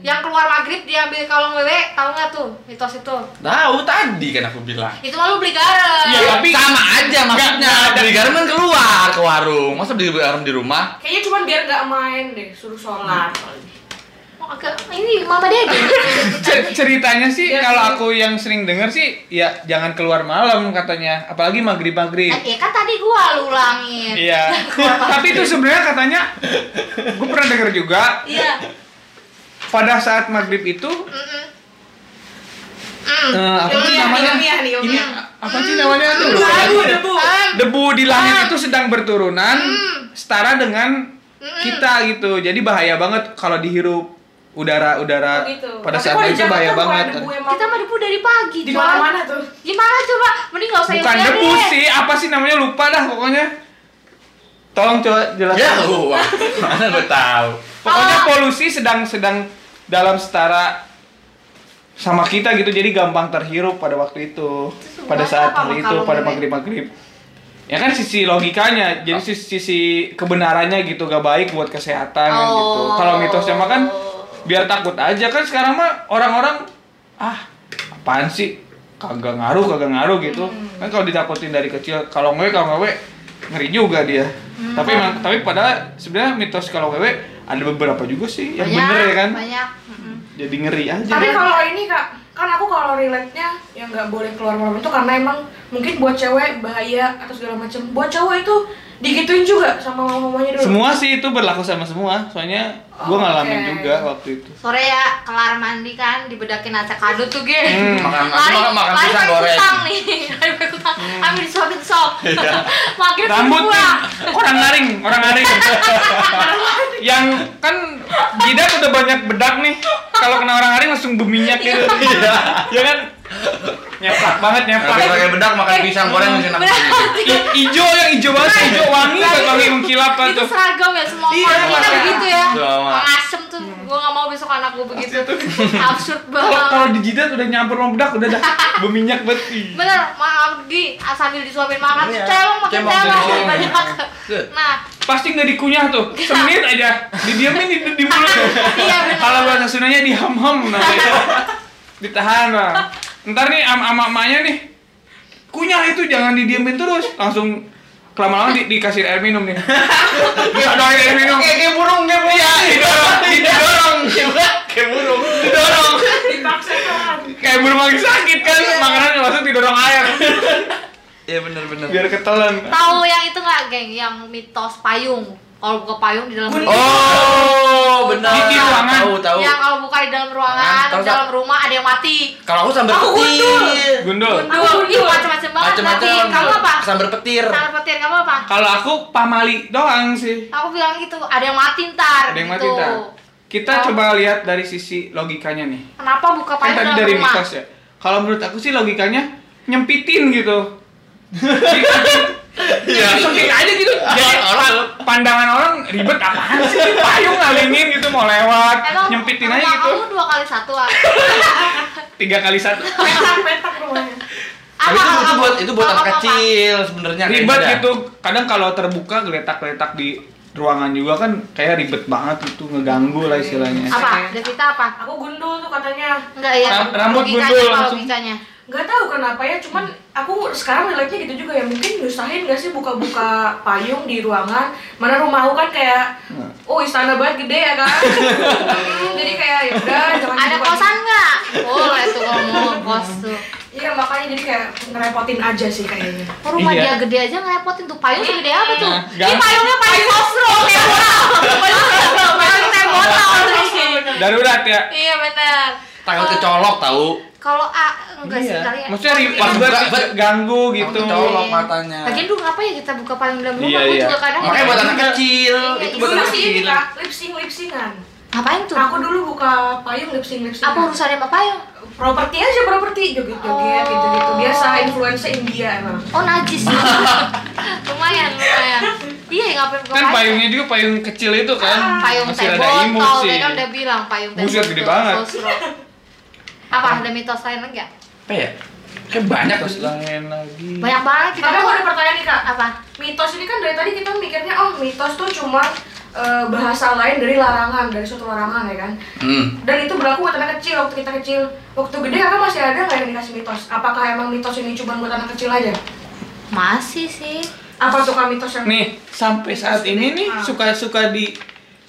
[SPEAKER 1] Yang keluar maghrib diambil kalung wewe, tahu nggak tuh mitos itu?
[SPEAKER 3] Tahu tadi kan aku bilang. Ya,
[SPEAKER 1] Itu malu beli garam.
[SPEAKER 2] Iya, tapi-
[SPEAKER 3] sama aja maksudnya.
[SPEAKER 2] nggak ada.
[SPEAKER 3] Beli garam kan keluar ke warung. Masa beli garam di rumah?
[SPEAKER 4] Kayaknya cuma biar nggak main deh, suruh sholat.
[SPEAKER 1] Oh, agak ini mama dede.
[SPEAKER 2] Cer- ceritanya sih
[SPEAKER 4] Iya,
[SPEAKER 2] kalau
[SPEAKER 4] sih.
[SPEAKER 2] aku yang sering denger sih ya jangan keluar malam katanya apalagi maghrib maghrib
[SPEAKER 1] Nah, ya kan tadi gua lu ulangin.
[SPEAKER 2] iya tapi itu sebenarnya katanya gue pernah denger juga
[SPEAKER 1] Iya.
[SPEAKER 2] pada saat maghrib itu
[SPEAKER 1] Mm-mm. Mm.
[SPEAKER 2] eh, apa sih
[SPEAKER 4] Ilmiah,
[SPEAKER 2] namanya
[SPEAKER 4] ilmiah nih,
[SPEAKER 2] ini
[SPEAKER 4] ilmiah.
[SPEAKER 2] apa sih namanya tuh
[SPEAKER 4] Iya. Debu, debu, debu. Ah. Hmm.
[SPEAKER 1] Em,
[SPEAKER 2] debu di langit itu sedang berturunan setara dengan
[SPEAKER 1] Mm-mm.
[SPEAKER 2] kita gitu jadi bahaya banget kalau dihirup udara udara
[SPEAKER 4] Oh,
[SPEAKER 2] eh, pada
[SPEAKER 4] gitu. Tapi
[SPEAKER 2] saat
[SPEAKER 4] kok di
[SPEAKER 2] itu
[SPEAKER 4] Jakarta
[SPEAKER 2] bahaya
[SPEAKER 4] bukan
[SPEAKER 2] banget
[SPEAKER 4] debu emang?
[SPEAKER 1] Kita mah debu dari pagi,
[SPEAKER 4] Di
[SPEAKER 1] Coy.
[SPEAKER 4] mana-mana tuh.
[SPEAKER 1] Gimana coba? Mending nggak usah
[SPEAKER 2] bukan
[SPEAKER 1] ilmiah
[SPEAKER 2] debu
[SPEAKER 1] deh.
[SPEAKER 2] sih apa sih namanya lupa dah pokoknya tolong coba jelasin
[SPEAKER 3] Ya gua. Mana gua tahu.
[SPEAKER 2] pokoknya
[SPEAKER 1] Oh.
[SPEAKER 2] polusi sedang sedang dalam setara sama kita gitu jadi gampang terhirup pada waktu itu
[SPEAKER 1] Terus
[SPEAKER 2] pada
[SPEAKER 1] hubungannya
[SPEAKER 2] saat
[SPEAKER 1] apa sama
[SPEAKER 2] hari itu
[SPEAKER 1] kalung
[SPEAKER 2] pada
[SPEAKER 1] ini?
[SPEAKER 2] maghrib maghrib ya kan sisi logikanya jadi sisi, sisi kebenarannya gitu gak baik buat kesehatan kan gitu
[SPEAKER 1] Oh.
[SPEAKER 2] kalau mitosnya mah kan
[SPEAKER 4] Oh.
[SPEAKER 2] biar takut aja kan sekarang mah orang-orang ah apaan sih kagak ngaruh kagak ngaruh gitu
[SPEAKER 4] Hmm.
[SPEAKER 2] kan kalau ditakutin dari kecil kalau ngewe kalau ngewe ngeri juga dia
[SPEAKER 4] Hmm.
[SPEAKER 2] tapi emang tapi padahal sebenarnya mitos kalau ngewe ada beberapa juga sih yang
[SPEAKER 1] Banyak,
[SPEAKER 2] bener ya kan
[SPEAKER 1] Banyak. Mm-mm.
[SPEAKER 2] jadi ngeri aja
[SPEAKER 4] Tapi kalau ini kak, kan aku kalau relate-nya yang nggak boleh keluar malam itu karena emang mungkin buat cewek bahaya atau segala macam. Buat cowok itu digituin juga sama mamanya dulu.
[SPEAKER 2] semua sih itu berlaku sama semua soalnya gue
[SPEAKER 4] Oh, Oke.
[SPEAKER 2] ngalamin juga waktu itu
[SPEAKER 1] Sore ya kelar mandi kan dibedakin acak adut tuh, Ge.
[SPEAKER 2] Hmm.
[SPEAKER 3] Makan
[SPEAKER 1] Lari,
[SPEAKER 3] makan makan
[SPEAKER 1] lari
[SPEAKER 3] pisang
[SPEAKER 1] pakai
[SPEAKER 3] goreng.
[SPEAKER 1] kutang nih, lari pakai kutang, ambil suapin sop,
[SPEAKER 2] Hmm.
[SPEAKER 1] makin
[SPEAKER 2] Iya. rambut
[SPEAKER 1] gua.
[SPEAKER 2] nih, orang naring orang naring yang kan jidat udah banyak bedak nih kalau kena orang naring langsung berminyak gitu
[SPEAKER 1] Iya.
[SPEAKER 2] ya kan nyeplak banget nyeplak
[SPEAKER 3] Pakai Eh, hmm, pakai bedak makan pisang goreng masih enak.
[SPEAKER 1] Berarti
[SPEAKER 2] I- ijo yang ijo banget ijo wangi banget wangi mengkilap kan
[SPEAKER 1] itu
[SPEAKER 2] tuh
[SPEAKER 1] seragam ya semua
[SPEAKER 2] Iya,
[SPEAKER 1] orang kita
[SPEAKER 2] makanya.
[SPEAKER 1] begitu ya.
[SPEAKER 3] Sama.
[SPEAKER 1] Pengasem tuh, gua nggak mau besok anak gua begitu. Absurd
[SPEAKER 2] kalau kalau
[SPEAKER 1] banget.
[SPEAKER 2] di jidat udah nyampur sama bedak udah dah berminyak banget Ih.
[SPEAKER 1] Bener, maaf di sambil disuapin makan
[SPEAKER 3] Iya.
[SPEAKER 1] cewek makin
[SPEAKER 3] Cebong,
[SPEAKER 1] cewek
[SPEAKER 3] cebong.
[SPEAKER 1] banyak.
[SPEAKER 3] Tuh.
[SPEAKER 1] Nah,
[SPEAKER 2] pasti nggak dikunyah tuh semenit aja didiamin di, di mulut
[SPEAKER 1] Iya, benar.
[SPEAKER 2] kalau bahasa Sundanya diham ham namanya nah, gitu. ditahan lah ntar nih am ama amanya nih kunyah itu jangan didiamin terus langsung kelamaan di, dikasih air minum nih bisa doain air minum
[SPEAKER 3] Kayak "Eh, kayak burung, kayak burung. Iya,
[SPEAKER 2] didorong,
[SPEAKER 3] didorong. Kayak burung.
[SPEAKER 2] didorong
[SPEAKER 4] Dipaksakan.
[SPEAKER 2] kayak burung lagi sakit kan makanan langsung didorong air
[SPEAKER 3] Iya benar benar.
[SPEAKER 2] biar ketelan
[SPEAKER 1] tahu yang itu nggak, geng? Yang mitos payung. Kalau buka payung di dalam rumah.
[SPEAKER 3] Oh, benar.
[SPEAKER 2] Di- di ruangan.
[SPEAKER 3] Tahu, tahu.
[SPEAKER 1] Ah, Yang kalau buka di dalam ruangan,
[SPEAKER 3] Ah, tahu,
[SPEAKER 1] di dalam rumah ada yang mati.
[SPEAKER 3] Kalau aku sambil
[SPEAKER 4] Aku gundul.
[SPEAKER 3] petir.
[SPEAKER 2] gundul
[SPEAKER 1] Aduh, ih macam-macam banget.
[SPEAKER 3] Macam-macam.
[SPEAKER 1] Nanti kamu apa?
[SPEAKER 3] Sambil petir.
[SPEAKER 1] Tangan petir kamu apa?
[SPEAKER 2] kalau aku pamali doang sih
[SPEAKER 1] Aku bilang gitu, ada yang mati ntar.
[SPEAKER 2] ada yang mati
[SPEAKER 1] gitu.
[SPEAKER 2] tak kita coba lihat dari sisi logikanya nih
[SPEAKER 1] Kenapa buka
[SPEAKER 2] kan
[SPEAKER 1] payung
[SPEAKER 2] tadi
[SPEAKER 1] dalam
[SPEAKER 2] dari
[SPEAKER 1] rumah?
[SPEAKER 2] mitos ya kalau menurut aku sih logikanya nyempitin gitu
[SPEAKER 3] Iya.
[SPEAKER 2] sempit aja gitu jadi
[SPEAKER 3] Orang.
[SPEAKER 2] pandangan orang ribet apaan sih Ini payung ngalingin gitu mau lewat
[SPEAKER 1] Emang
[SPEAKER 2] nyempitin
[SPEAKER 1] rumah
[SPEAKER 2] aja gitu
[SPEAKER 1] Eh, Kamu dua kali satu ah.
[SPEAKER 2] tiga kali satu
[SPEAKER 3] Iya,
[SPEAKER 4] Petak-petak rumahnya.
[SPEAKER 1] Apa
[SPEAKER 3] Tapi itu,
[SPEAKER 1] kalau
[SPEAKER 3] itu
[SPEAKER 1] kamu-
[SPEAKER 3] buat itu buat
[SPEAKER 1] kalau kamu
[SPEAKER 3] anak
[SPEAKER 1] apa?
[SPEAKER 3] kecil sebenarnya. kayak
[SPEAKER 2] ribet
[SPEAKER 3] gitu.
[SPEAKER 2] gitu kadang kalau terbuka geletak-geletak di ruangan juga kan kayak ribet banget itu ngeganggu lah istilahnya
[SPEAKER 1] Apa? Devita apa?
[SPEAKER 4] Aku gundul tuh katanya.
[SPEAKER 1] Enggak ya.
[SPEAKER 2] Ram- rambut
[SPEAKER 1] logikanya
[SPEAKER 2] gundul
[SPEAKER 1] apa
[SPEAKER 2] langsung.
[SPEAKER 1] logikanya?
[SPEAKER 4] nggak tahu kenapa ya cuman aku sekarang relate nya gitu juga ya mungkin nyusahin gak sih buka-buka payung di ruangan mana rumah aku kan kayak
[SPEAKER 2] Nah.
[SPEAKER 4] oh istana banget gede ya kan Hmm, jadi kayak ya udah jangan
[SPEAKER 1] Ada
[SPEAKER 4] dibuka.
[SPEAKER 1] kosan nggak? Boleh tuh kalau mau kos tuh.
[SPEAKER 4] iya makanya jadi kayak ngerepotin aja sih kayaknya
[SPEAKER 1] Oh, rumah
[SPEAKER 2] Iya.
[SPEAKER 1] dia gede aja ngerepotin tuh payung segede apa tuh?
[SPEAKER 2] Nah,
[SPEAKER 1] Ini
[SPEAKER 2] gak-
[SPEAKER 1] payungnya payung sosro, kayak botol. Payung kayak botol.
[SPEAKER 2] darurat ya
[SPEAKER 1] Iya benar.
[SPEAKER 3] Takut kecolok tahu.
[SPEAKER 1] Kalau A enggak sih
[SPEAKER 2] Iya.
[SPEAKER 1] kali ya.
[SPEAKER 2] Maksudnya
[SPEAKER 3] Wah,
[SPEAKER 2] ribet
[SPEAKER 3] enggak,
[SPEAKER 2] ribet, ganggu gitu.
[SPEAKER 3] Kamu colok matanya.
[SPEAKER 1] Lagian dulu ngapain ya kita buka paling dalam rumah?
[SPEAKER 2] Iya,
[SPEAKER 1] Gua
[SPEAKER 2] iya.
[SPEAKER 1] juga kadang gitu.
[SPEAKER 3] Makanya buat anak kecil,
[SPEAKER 1] Iya,
[SPEAKER 3] itu buat
[SPEAKER 4] Dulu
[SPEAKER 3] anak
[SPEAKER 4] sih ini
[SPEAKER 3] kecil.
[SPEAKER 4] kak, lipsing lipsingan.
[SPEAKER 1] ngapain tuh?
[SPEAKER 4] Aku dulu buka payung lipsing lipsingan.
[SPEAKER 1] apa urusannya sama payung?
[SPEAKER 4] Properti aja properti, joget-joget
[SPEAKER 1] Oh.
[SPEAKER 4] gitu-gitu. Biasa influencer India emang.
[SPEAKER 1] Oh najis Lumayan, lumayan Iya ya ngapain buka Ah,
[SPEAKER 2] Kan payungnya juga payung kecil itu kan.
[SPEAKER 1] Payung
[SPEAKER 2] Masih
[SPEAKER 1] teh
[SPEAKER 2] ada imut
[SPEAKER 1] botol,
[SPEAKER 2] sih.
[SPEAKER 1] dia kan udah bilang payung teh
[SPEAKER 2] Buset, gede
[SPEAKER 1] botol,
[SPEAKER 2] banget.
[SPEAKER 1] sosro. Apa, ada mitos lain lagi ya?
[SPEAKER 3] Apa ya? Kayak banyak
[SPEAKER 2] Terus
[SPEAKER 3] terus
[SPEAKER 2] lain lagi.
[SPEAKER 1] Banyak banget kita
[SPEAKER 4] Tapi aku
[SPEAKER 1] tuh
[SPEAKER 4] ada pertanyaan nih kak.
[SPEAKER 1] Apa?
[SPEAKER 4] Mitos ini kan dari tadi kita mikirnya oh mitos tuh cuma eh, bahasa lain dari larangan dari suatu larangan ya kan.
[SPEAKER 3] Hmm.
[SPEAKER 4] Dan itu berlaku buat anak kecil waktu kita kecil. Waktu gede kakak masih ada nggak yang dikasih mitos? Apakah emang mitos ini cuma buat anak kecil aja?
[SPEAKER 1] Masih sih
[SPEAKER 4] Apa tuh kak mitos yang
[SPEAKER 2] nih sampai saat ini nih
[SPEAKER 1] Ah.
[SPEAKER 2] suka suka di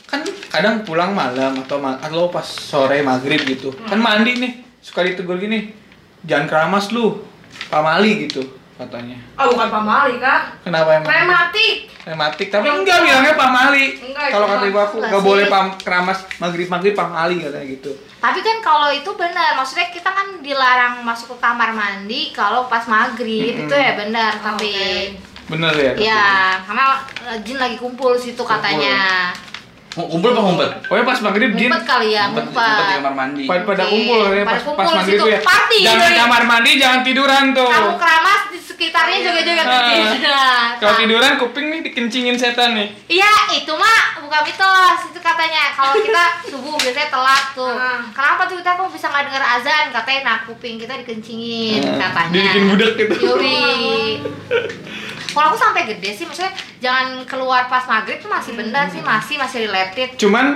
[SPEAKER 2] kan kadang pulang malam atau ma- atau pas sore maghrib gitu
[SPEAKER 1] Hmm.
[SPEAKER 2] kan mandi nih suka ditegur gini jangan keramas lu pamali gitu katanya
[SPEAKER 4] Oh bukan pamali kak.
[SPEAKER 2] kenapa emang
[SPEAKER 4] Rematik.
[SPEAKER 2] rematik tapi enggak bilangnya pamali
[SPEAKER 4] Enggak,
[SPEAKER 2] kalau
[SPEAKER 4] itu
[SPEAKER 2] kata ibu aku
[SPEAKER 1] enggak
[SPEAKER 2] nggak
[SPEAKER 1] sih.
[SPEAKER 2] boleh pam keramas maghrib maghrib pamali katanya gitu
[SPEAKER 1] Tapi kan kalau itu benar, maksudnya kita kan dilarang masuk ke kamar mandi kalau pas maghrib
[SPEAKER 2] Mm-mm.
[SPEAKER 1] itu ya benar.
[SPEAKER 4] Oh,
[SPEAKER 1] Tapi
[SPEAKER 2] bener ya
[SPEAKER 1] ya karena eh, jin lagi kumpul situ katanya.
[SPEAKER 3] Mau kumpul apa ngumpet?
[SPEAKER 2] pokoknya pas maghrib jin
[SPEAKER 1] Ngumpet kali ya,
[SPEAKER 3] Ngumpet di
[SPEAKER 1] ngumpet.
[SPEAKER 3] kamar mandi.
[SPEAKER 2] pada pada
[SPEAKER 1] Iya,
[SPEAKER 2] kumpul katanya
[SPEAKER 1] pada
[SPEAKER 2] pas pas
[SPEAKER 1] kumpul
[SPEAKER 2] maghrib
[SPEAKER 1] situ.
[SPEAKER 2] tuh ya
[SPEAKER 1] Party,
[SPEAKER 2] jangan
[SPEAKER 1] Doi.
[SPEAKER 2] kamar mandi jangan tiduran tuh
[SPEAKER 1] Kamu keramas di sekitarnya joget-joget
[SPEAKER 2] Ah.
[SPEAKER 1] gitu. Nah,
[SPEAKER 2] kalau
[SPEAKER 1] nah.
[SPEAKER 2] tiduran kuping nih dikencingin setan nih
[SPEAKER 1] Iya, itu mah bukan mitos. Itu katanya kalau kita subuh biasanya telat tuh.
[SPEAKER 4] Ah.
[SPEAKER 1] Kenapa tuh kita kok bisa nggak dengar azan? Katanya nah kuping kita dikencingin
[SPEAKER 2] Eh,
[SPEAKER 1] katanya.
[SPEAKER 2] dibikin budak gitu.
[SPEAKER 1] Yoi. Kalau aku sampai gede sih maksudnya jangan keluar pas maghrib tuh masih benda
[SPEAKER 2] Hmm.
[SPEAKER 1] sih masih masih related.
[SPEAKER 2] cuman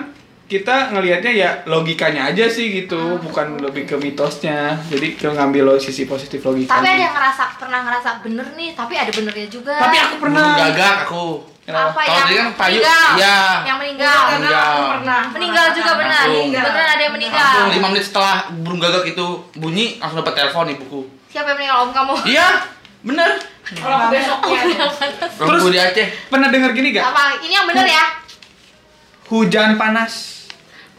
[SPEAKER 2] kita ngelihatnya ya logikanya aja sih
[SPEAKER 1] Ah.
[SPEAKER 2] gitu bukan lebih ke mitosnya jadi kita ngambil lo- sisi positif logikanya
[SPEAKER 1] Tapi ada yang ngerasa pernah ngerasa bener nih, tapi ada benernya juga.
[SPEAKER 2] Tapi aku pernah
[SPEAKER 3] Burung gagak aku.
[SPEAKER 2] Kenapa?
[SPEAKER 1] apa
[SPEAKER 3] Kalau
[SPEAKER 1] yang
[SPEAKER 3] dia kan payu-
[SPEAKER 1] meninggal?
[SPEAKER 3] iya.
[SPEAKER 1] Yang meninggal.
[SPEAKER 4] Kakak
[SPEAKER 3] Meninggal.
[SPEAKER 4] pernah.
[SPEAKER 1] Meninggal juga benar.
[SPEAKER 3] Langsung.
[SPEAKER 1] Benar ada yang
[SPEAKER 4] Iya.
[SPEAKER 1] meninggal.
[SPEAKER 3] Langsung 5 menit setelah burung gagak itu bunyi langsung dapat telepon ibuku.
[SPEAKER 1] Siapa yang meninggal om kamu?
[SPEAKER 3] Iya, bener.
[SPEAKER 4] Kalau ya. besoknya.
[SPEAKER 2] Terus-
[SPEAKER 3] Terus di Aceh.
[SPEAKER 2] pernah dengar gini gak
[SPEAKER 1] Apa? Ini yang bener
[SPEAKER 2] Iya.
[SPEAKER 1] ya?
[SPEAKER 2] hujan panas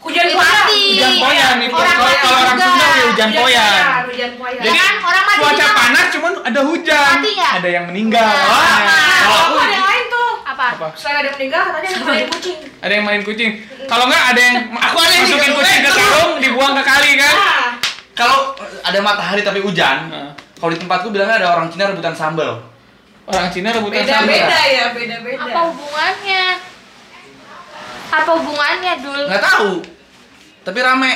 [SPEAKER 4] Hujan
[SPEAKER 1] Mati.
[SPEAKER 4] pati.
[SPEAKER 2] hujan poyan itu
[SPEAKER 1] iya. Orang
[SPEAKER 2] kalau
[SPEAKER 1] mati
[SPEAKER 2] kalau orang
[SPEAKER 1] juga.
[SPEAKER 2] Sunda ya hujan poyan
[SPEAKER 4] Hujan poyan.
[SPEAKER 2] jadi
[SPEAKER 1] Kan orang mati
[SPEAKER 2] cuaca
[SPEAKER 1] juga.
[SPEAKER 2] panas cuman ada hujan
[SPEAKER 1] Mati nggak?
[SPEAKER 2] ada yang meninggal
[SPEAKER 1] Nah,
[SPEAKER 2] Ah.
[SPEAKER 1] nah.
[SPEAKER 2] Kalau
[SPEAKER 4] Kalau
[SPEAKER 2] aku-
[SPEAKER 4] ada yang lain tuh.
[SPEAKER 1] Apa?
[SPEAKER 2] Apa?
[SPEAKER 4] Selain ada yang meninggal, katanya ada yang main kucing.
[SPEAKER 2] ada yang main kucing kalau nggak ada yang aku
[SPEAKER 3] ada yang
[SPEAKER 2] masukin
[SPEAKER 3] digabung,
[SPEAKER 2] kucing ke
[SPEAKER 3] eh,
[SPEAKER 2] karung dibuang ke kali kan
[SPEAKER 4] Ah,
[SPEAKER 3] Kalau ada matahari tapi hujan,
[SPEAKER 2] Heeh.
[SPEAKER 3] kalau di tempatku bilangnya ada orang Cina rebutan sambal.
[SPEAKER 2] orang Cina rebutan sama
[SPEAKER 4] beda-beda ya, beda-beda.
[SPEAKER 1] Apa hubungannya? Apa hubungannya dul?
[SPEAKER 3] Nggak tahu. Tapi rame.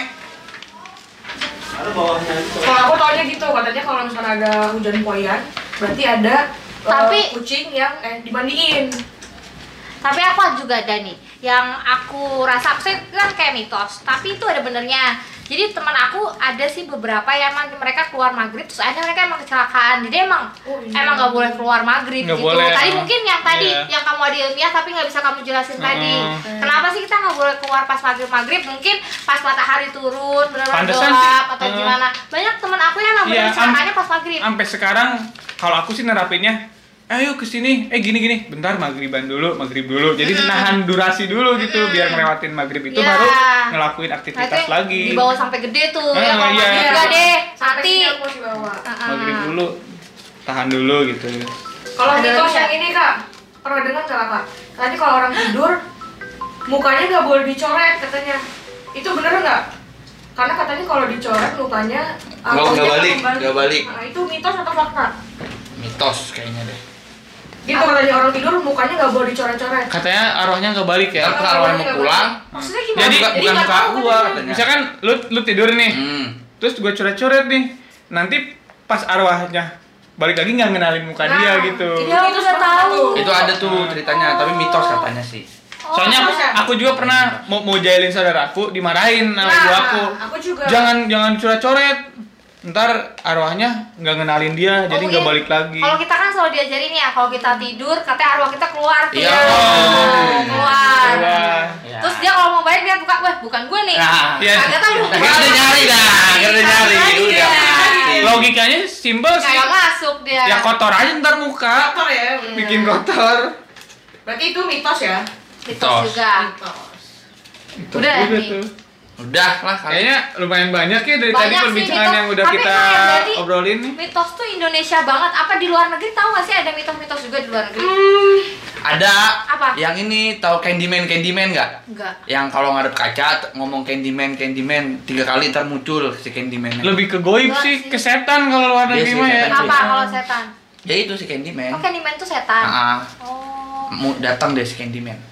[SPEAKER 4] Kalau aku taunya gitu, katanya kalau misalnya ada hujan poyan, berarti ada eh,
[SPEAKER 1] Tapi-
[SPEAKER 4] kucing yang eh dimandiin.
[SPEAKER 1] Tapi apa juga ada nih yang aku rasa maksudnya itu kan kayak mitos, tapi itu ada benernya. Jadi teman aku ada sih beberapa yang emang mereka keluar maghrib terus ada mereka emang kecelakaan. Jadi emang
[SPEAKER 4] Oh, iya.
[SPEAKER 1] emang nggak boleh keluar maghrib
[SPEAKER 2] Nggak
[SPEAKER 1] gitu.
[SPEAKER 2] boleh,
[SPEAKER 1] Tadi
[SPEAKER 2] emang.
[SPEAKER 1] mungkin yang tadi
[SPEAKER 2] Iya.
[SPEAKER 1] yang kamu ada ilmiah tapi nggak bisa kamu jelasin tadi.
[SPEAKER 2] Mm-mm.
[SPEAKER 1] Kenapa sih kita nggak boleh keluar pas maghrib maghrib? Mungkin pas matahari turun benar-benar
[SPEAKER 2] Pantesan
[SPEAKER 1] gelap
[SPEAKER 2] sih.
[SPEAKER 1] atau
[SPEAKER 2] Mm.
[SPEAKER 1] gimana? Banyak teman aku yang emang
[SPEAKER 2] Iya,
[SPEAKER 1] bener
[SPEAKER 2] am-
[SPEAKER 1] kecelakaannya pas maghrib.
[SPEAKER 2] sampai sekarang kalau aku sih nerapinnya ayo ke sini eh gini gini bentar magriban dulu maghrib dulu jadi menahan durasi dulu gitu biar ngelewatin maghrib itu
[SPEAKER 1] Iya.
[SPEAKER 2] baru ngelakuin
[SPEAKER 1] Nah, itu
[SPEAKER 2] aktivitas
[SPEAKER 1] yang
[SPEAKER 2] lagi
[SPEAKER 1] dibawa sampai gede tuh.
[SPEAKER 2] Mm,
[SPEAKER 1] ya kalau
[SPEAKER 2] iya.
[SPEAKER 1] maghrib
[SPEAKER 4] Iya.
[SPEAKER 1] nggak deh,
[SPEAKER 4] Sampai
[SPEAKER 1] mati.
[SPEAKER 4] sini aku masih bawa.
[SPEAKER 1] Ah, ah.
[SPEAKER 2] maghrib dulu tahan dulu gitu
[SPEAKER 4] Kalau
[SPEAKER 1] Ada
[SPEAKER 4] mitos
[SPEAKER 1] lagi
[SPEAKER 4] yang ini kak, pernah dengar nggak kak? Katanya kalau orang tidur, mukanya nggak boleh dicoret katanya. Itu bener nggak? Karena katanya kalau dicoret mukanya
[SPEAKER 3] Nggak-
[SPEAKER 4] arwahnya
[SPEAKER 3] nggak
[SPEAKER 4] akan
[SPEAKER 3] balik,
[SPEAKER 4] kembali.
[SPEAKER 3] nggak balik.
[SPEAKER 4] Nah, itu mitos atau fakta?
[SPEAKER 3] Mitos kayaknya deh.
[SPEAKER 4] Gitu katanya orang tidur mukanya nggak boleh dicoret-coret.
[SPEAKER 2] katanya arwahnya nggak balik
[SPEAKER 3] Ya, kalau arwahnya mau pulang,
[SPEAKER 4] Maksudnya gimana?
[SPEAKER 2] Jadi,
[SPEAKER 3] bukan,
[SPEAKER 4] Jadi
[SPEAKER 3] bukan
[SPEAKER 4] nggak
[SPEAKER 3] muka
[SPEAKER 4] tahu
[SPEAKER 3] gua
[SPEAKER 4] katanya.
[SPEAKER 3] katanya.
[SPEAKER 2] misalkan lu lu tidur nih
[SPEAKER 3] Hmm.
[SPEAKER 2] terus gua coret-coret nih nanti pas arwahnya balik lagi nggak ngenalin muka
[SPEAKER 4] Nah,
[SPEAKER 2] dia gitu
[SPEAKER 1] Iya, aku
[SPEAKER 4] mitos
[SPEAKER 1] nggak
[SPEAKER 4] banget
[SPEAKER 1] tahu.
[SPEAKER 4] tuh.
[SPEAKER 3] Itu ada tuh ceritanya, tapi mitos katanya sih.
[SPEAKER 1] Oh,
[SPEAKER 2] soalnya aku, aku juga pernah mau mau jahilin saudaraku dimarahin sama ibu
[SPEAKER 4] Nah,
[SPEAKER 2] aku
[SPEAKER 4] aku juga.
[SPEAKER 2] jangan jangan coret-coret ntar arwahnya nggak ngenalin dia jadi
[SPEAKER 1] Oh,
[SPEAKER 2] nggak
[SPEAKER 1] iya.
[SPEAKER 2] balik lagi
[SPEAKER 1] Kalau kita kan selalu diajarin ya, kalau kita tidur katanya arwah kita keluar tuh. ya.
[SPEAKER 3] Iya. Oh.
[SPEAKER 1] keluar.
[SPEAKER 2] Keluar.
[SPEAKER 3] Iya.
[SPEAKER 1] Terus dia kalau mau balik dia buka, wah bukan gue nih.
[SPEAKER 3] Nah,
[SPEAKER 2] iya.
[SPEAKER 1] Kagak tahu lu.
[SPEAKER 3] Akhirnya udah nyari dah, akhirnya udah nyari.
[SPEAKER 1] Iya.
[SPEAKER 3] Udah pasti.
[SPEAKER 2] logikanya simpel sih
[SPEAKER 1] Kagak masuk dia.
[SPEAKER 2] ya kotor aja ntar muka
[SPEAKER 4] Kotor ya.
[SPEAKER 2] bikin kotor
[SPEAKER 4] Berarti itu mitos ya?
[SPEAKER 1] Mitos juga.
[SPEAKER 4] Mitos.
[SPEAKER 2] Itu
[SPEAKER 1] Udah,
[SPEAKER 2] juga
[SPEAKER 1] nih.
[SPEAKER 2] Gitu tuh.
[SPEAKER 3] Udah lah. kali.
[SPEAKER 2] Kayaknya lumayan banyak ya dari tadi
[SPEAKER 1] Banyak sih,
[SPEAKER 2] perbincangan
[SPEAKER 1] mitos.
[SPEAKER 2] yang udah
[SPEAKER 1] Tapi
[SPEAKER 2] kita
[SPEAKER 1] kayak berarti-
[SPEAKER 2] obrolin nih.
[SPEAKER 1] Mitos tuh Indonesia banget. Apa di luar negeri tahu gak sih ada mitos-mitos juga di luar negeri?
[SPEAKER 3] Hmm. Ada.
[SPEAKER 1] Apa?
[SPEAKER 3] Yang ini tahu Candyman Candyman nggak?
[SPEAKER 1] Enggak.
[SPEAKER 3] Yang kalau ngadep kaca t- ngomong Candyman Candyman tiga kali ntar muncul si Candyman.
[SPEAKER 2] Lebih ke goib
[SPEAKER 1] Enggak
[SPEAKER 2] sih,
[SPEAKER 1] sih.
[SPEAKER 2] ke setan kalau luar
[SPEAKER 3] Iya
[SPEAKER 2] negeri
[SPEAKER 3] sih,
[SPEAKER 2] mah ya.
[SPEAKER 3] setan sih.
[SPEAKER 1] Apa kalau setan?
[SPEAKER 3] Ya itu si Candyman.
[SPEAKER 1] Oh, Candyman tuh setan.
[SPEAKER 3] Ah,
[SPEAKER 1] Oh.
[SPEAKER 3] mau datang deh si Candyman.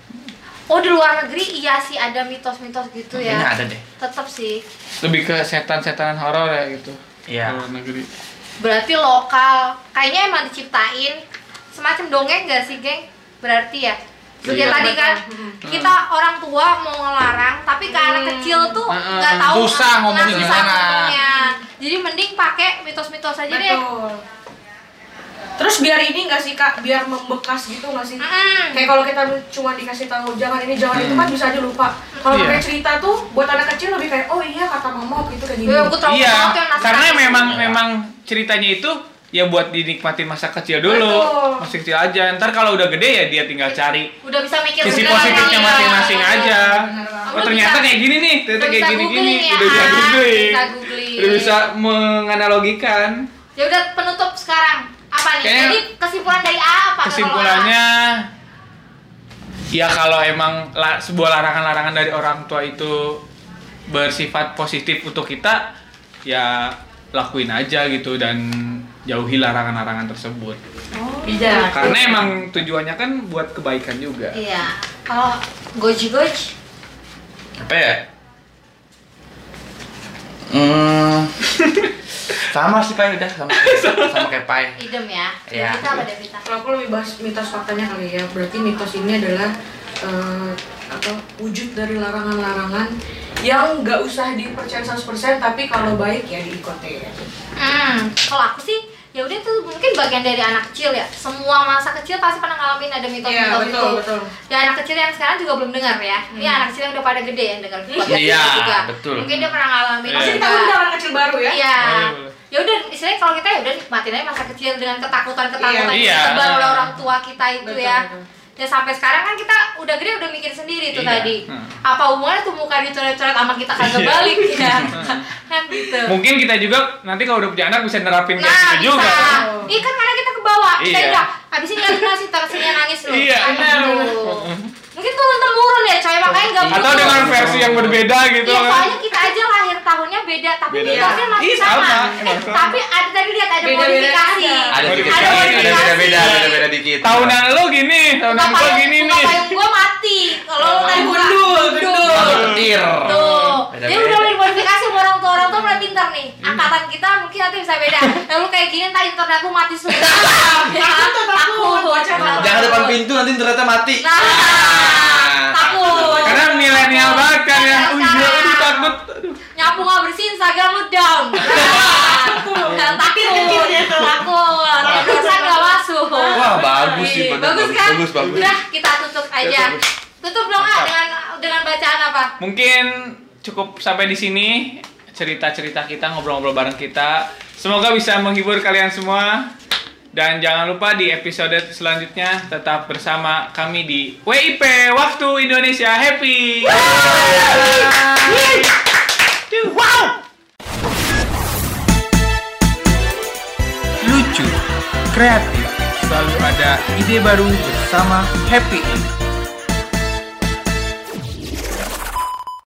[SPEAKER 1] Oh, di luar negeri iya sih ada mitos-mitos gitu
[SPEAKER 3] Kayaknya
[SPEAKER 1] ya.
[SPEAKER 3] Iya, ada deh.
[SPEAKER 1] Tetap sih.
[SPEAKER 2] Lebih ke setan-setanan horor ya gitu.
[SPEAKER 3] Iya.
[SPEAKER 2] Luar negeri.
[SPEAKER 1] Berarti lokal. Kayaknya emang diciptain semacam dongeng gak sih, geng? Berarti ya. Kayak
[SPEAKER 3] Iya.
[SPEAKER 1] tadi kan
[SPEAKER 2] Hmm.
[SPEAKER 1] kita orang tua mau ngelarang, tapi ke anak kecil tuh
[SPEAKER 2] Heeh.
[SPEAKER 1] nggak tahu
[SPEAKER 3] Susah
[SPEAKER 1] nah,
[SPEAKER 3] ngomongnya
[SPEAKER 1] susah
[SPEAKER 3] gimana.
[SPEAKER 1] ngomongnya. Jadi mending pakai mitos-mitos aja deh.
[SPEAKER 4] Betul. Terus biar ini nggak sih kak, biar membekas gitu nggak sih?
[SPEAKER 1] Mm.
[SPEAKER 4] Kayak kalau kita cuma dikasih tahu jangan ini jangan itu kan bisa aja lupa. Kalau
[SPEAKER 2] Hmm. Iya.
[SPEAKER 4] pakai cerita tuh buat anak kecil lebih kayak oh iya kata mama waktu itu kayak gini.
[SPEAKER 1] Gue aku trauma
[SPEAKER 2] Iya,
[SPEAKER 1] banget ya, yang nasi
[SPEAKER 2] karena
[SPEAKER 1] kaki.
[SPEAKER 2] memang memang ceritanya itu ya buat dinikmati masa kecil dulu,
[SPEAKER 4] Betul.
[SPEAKER 2] masih kecil aja. Ntar kalau udah gede ya dia tinggal cari
[SPEAKER 1] udah bisa mikir
[SPEAKER 2] sisi
[SPEAKER 1] sendiri.
[SPEAKER 2] positifnya
[SPEAKER 1] Iya.
[SPEAKER 2] masing-masing aja.
[SPEAKER 4] Bener banget.
[SPEAKER 2] Oh
[SPEAKER 1] Udah
[SPEAKER 2] ternyata
[SPEAKER 1] bisa-
[SPEAKER 2] kayak gini nih, ternyata
[SPEAKER 1] udah
[SPEAKER 2] kayak
[SPEAKER 1] bisa
[SPEAKER 2] gini-gini,
[SPEAKER 1] googling ya
[SPEAKER 2] udah bisa
[SPEAKER 1] kan?
[SPEAKER 2] googling,
[SPEAKER 1] Bisa googling.
[SPEAKER 2] udah bisa menganalogikan.
[SPEAKER 1] Ya udah penutup sekarang. Apa nih?
[SPEAKER 2] Kayaknya-
[SPEAKER 1] Jadi kesimpulan dari A apa?
[SPEAKER 2] Kesimpulannya, ya kalau emang la- sebuah larangan-larangan dari orang tua itu bersifat positif untuk kita, ya lakuin aja gitu dan jauhi larangan-larangan tersebut.
[SPEAKER 4] Iya. Bijak.
[SPEAKER 2] Karena emang tujuannya kan buat kebaikan juga.
[SPEAKER 1] Iya. Kalau goji-goji
[SPEAKER 3] Apa ya? Hmm, sama sih Pai udah sama, sama kayak Pai.
[SPEAKER 1] idem ya.
[SPEAKER 3] Iya.
[SPEAKER 1] Devita apa Devita?
[SPEAKER 4] Kalau aku lebih bahas mitos faktanya kali ya. Berarti mitos ini adalah eh, atau wujud dari larangan-larangan yang nggak usah dipercaya 100% tapi kalau baik ya diikuti.
[SPEAKER 1] Hmm, kalau aku sih ya udah itu mungkin bagian dari anak kecil ya. Semua masa kecil pasti pernah ngalamin ada mitos-mitos
[SPEAKER 4] Iya,
[SPEAKER 1] itu.
[SPEAKER 4] betul, betul. Hmm.
[SPEAKER 1] Ya anak kecil yang sekarang juga belum dengar ya. Ini anak kecil yang udah pada gede yang dengar podcast ini
[SPEAKER 3] Iya,
[SPEAKER 1] juga.
[SPEAKER 3] betul.
[SPEAKER 1] Mungkin dia pernah ngalamin.
[SPEAKER 2] Pasti
[SPEAKER 4] Masih
[SPEAKER 1] juga.
[SPEAKER 4] kita undang anak kecil baru ya.
[SPEAKER 1] Iya.
[SPEAKER 2] Boleh, boleh.
[SPEAKER 1] Ya udah istilahnya kalau kita ya udah nikmatin aja masa kecil dengan ketakutan-ketakutan
[SPEAKER 2] Iya,
[SPEAKER 1] yang
[SPEAKER 2] iya.
[SPEAKER 1] terbaru oleh orang tua kita itu
[SPEAKER 4] Betul,
[SPEAKER 1] ya.
[SPEAKER 4] betul.
[SPEAKER 1] Ya sampai sekarang kan kita udah gede udah mikir sendiri tuh
[SPEAKER 3] Iya.
[SPEAKER 1] tadi.
[SPEAKER 2] Hmm.
[SPEAKER 1] Apa hubungannya tuh muka dicoret-coret sama kita
[SPEAKER 2] Iya.
[SPEAKER 1] kagak balik ya. kan gitu.
[SPEAKER 2] Mungkin kita juga nanti kalau udah punya anak bisa nerapin kayak
[SPEAKER 1] Nah,
[SPEAKER 2] gitu juga.
[SPEAKER 1] bisa. Iya kan karena kita ke bawah. Kita
[SPEAKER 2] Iya.
[SPEAKER 1] udah habis ini nggak nasi terusnya nangis loh.
[SPEAKER 2] Iya,
[SPEAKER 1] Aduh.
[SPEAKER 2] bener.
[SPEAKER 1] Mungkin turun temurun ya coy, makanya nggak
[SPEAKER 2] Atau
[SPEAKER 1] berubah.
[SPEAKER 2] dengan versi yang berbeda gitu
[SPEAKER 1] Iya,
[SPEAKER 2] kan.
[SPEAKER 1] soalnya kita aja lahir tahunnya beda, tapi
[SPEAKER 2] Beda.
[SPEAKER 1] mitosnya masih
[SPEAKER 2] Ih,
[SPEAKER 1] sama.
[SPEAKER 2] sama.
[SPEAKER 1] Eh, tapi ada tadi lihat ada
[SPEAKER 4] Beda-beda
[SPEAKER 1] modifikasi.
[SPEAKER 4] aja.
[SPEAKER 3] Ada dikit,
[SPEAKER 1] Ada
[SPEAKER 3] ada
[SPEAKER 1] modifikasi.
[SPEAKER 3] beda-beda, ada beda dikit.
[SPEAKER 2] Tahunan lo gini, tahunan
[SPEAKER 1] Muka
[SPEAKER 2] gue
[SPEAKER 1] payung-
[SPEAKER 2] gini
[SPEAKER 1] muka
[SPEAKER 2] nih.
[SPEAKER 1] payung gua mati. Kalau lu tadi muka-
[SPEAKER 4] Gundul, gundul.
[SPEAKER 3] Sama petir.
[SPEAKER 1] Tuh. Jadi
[SPEAKER 3] Beda-beda. Hmm.
[SPEAKER 1] udah dimodifikasi sama orang tua orang tua mulai pintar nih. Angkatan kita mungkin nanti bisa beda. Nah, lu kayak gini tadi internet lu mati semua. Ya,
[SPEAKER 4] Takut, takut, bocah.
[SPEAKER 3] Jangan depan pintu nanti ternyata mati. Nah.
[SPEAKER 1] Nah, takut.
[SPEAKER 2] Karena milenial banget kan ya.
[SPEAKER 1] Iya,
[SPEAKER 2] Uh, iya,
[SPEAKER 1] sekarang.
[SPEAKER 2] aduh takut.
[SPEAKER 1] Nyapu nggak bersih Instagram lu down. Nah, Takut. Takut. Takut. Dosa nggak masuk.
[SPEAKER 3] Wah, bagus sih,
[SPEAKER 1] Iya,
[SPEAKER 3] bener,
[SPEAKER 1] bagus
[SPEAKER 3] bagus,
[SPEAKER 1] kan?
[SPEAKER 3] bagus, bagus. Ya,
[SPEAKER 1] Udah kita tutup aja.
[SPEAKER 3] bagus.
[SPEAKER 1] Tutup dong ah dengan dengan bacaan apa?
[SPEAKER 2] Mungkin cukup sampai di sini cerita-cerita kita ngobrol-ngobrol bareng kita. Semoga bisa menghibur kalian semua. Dan jangan lupa di episode selanjutnya tetap bersama kami di WIP Waktu Indonesia Happy. Lucu, kreatif, selalu ada ide baru bersama Happy End.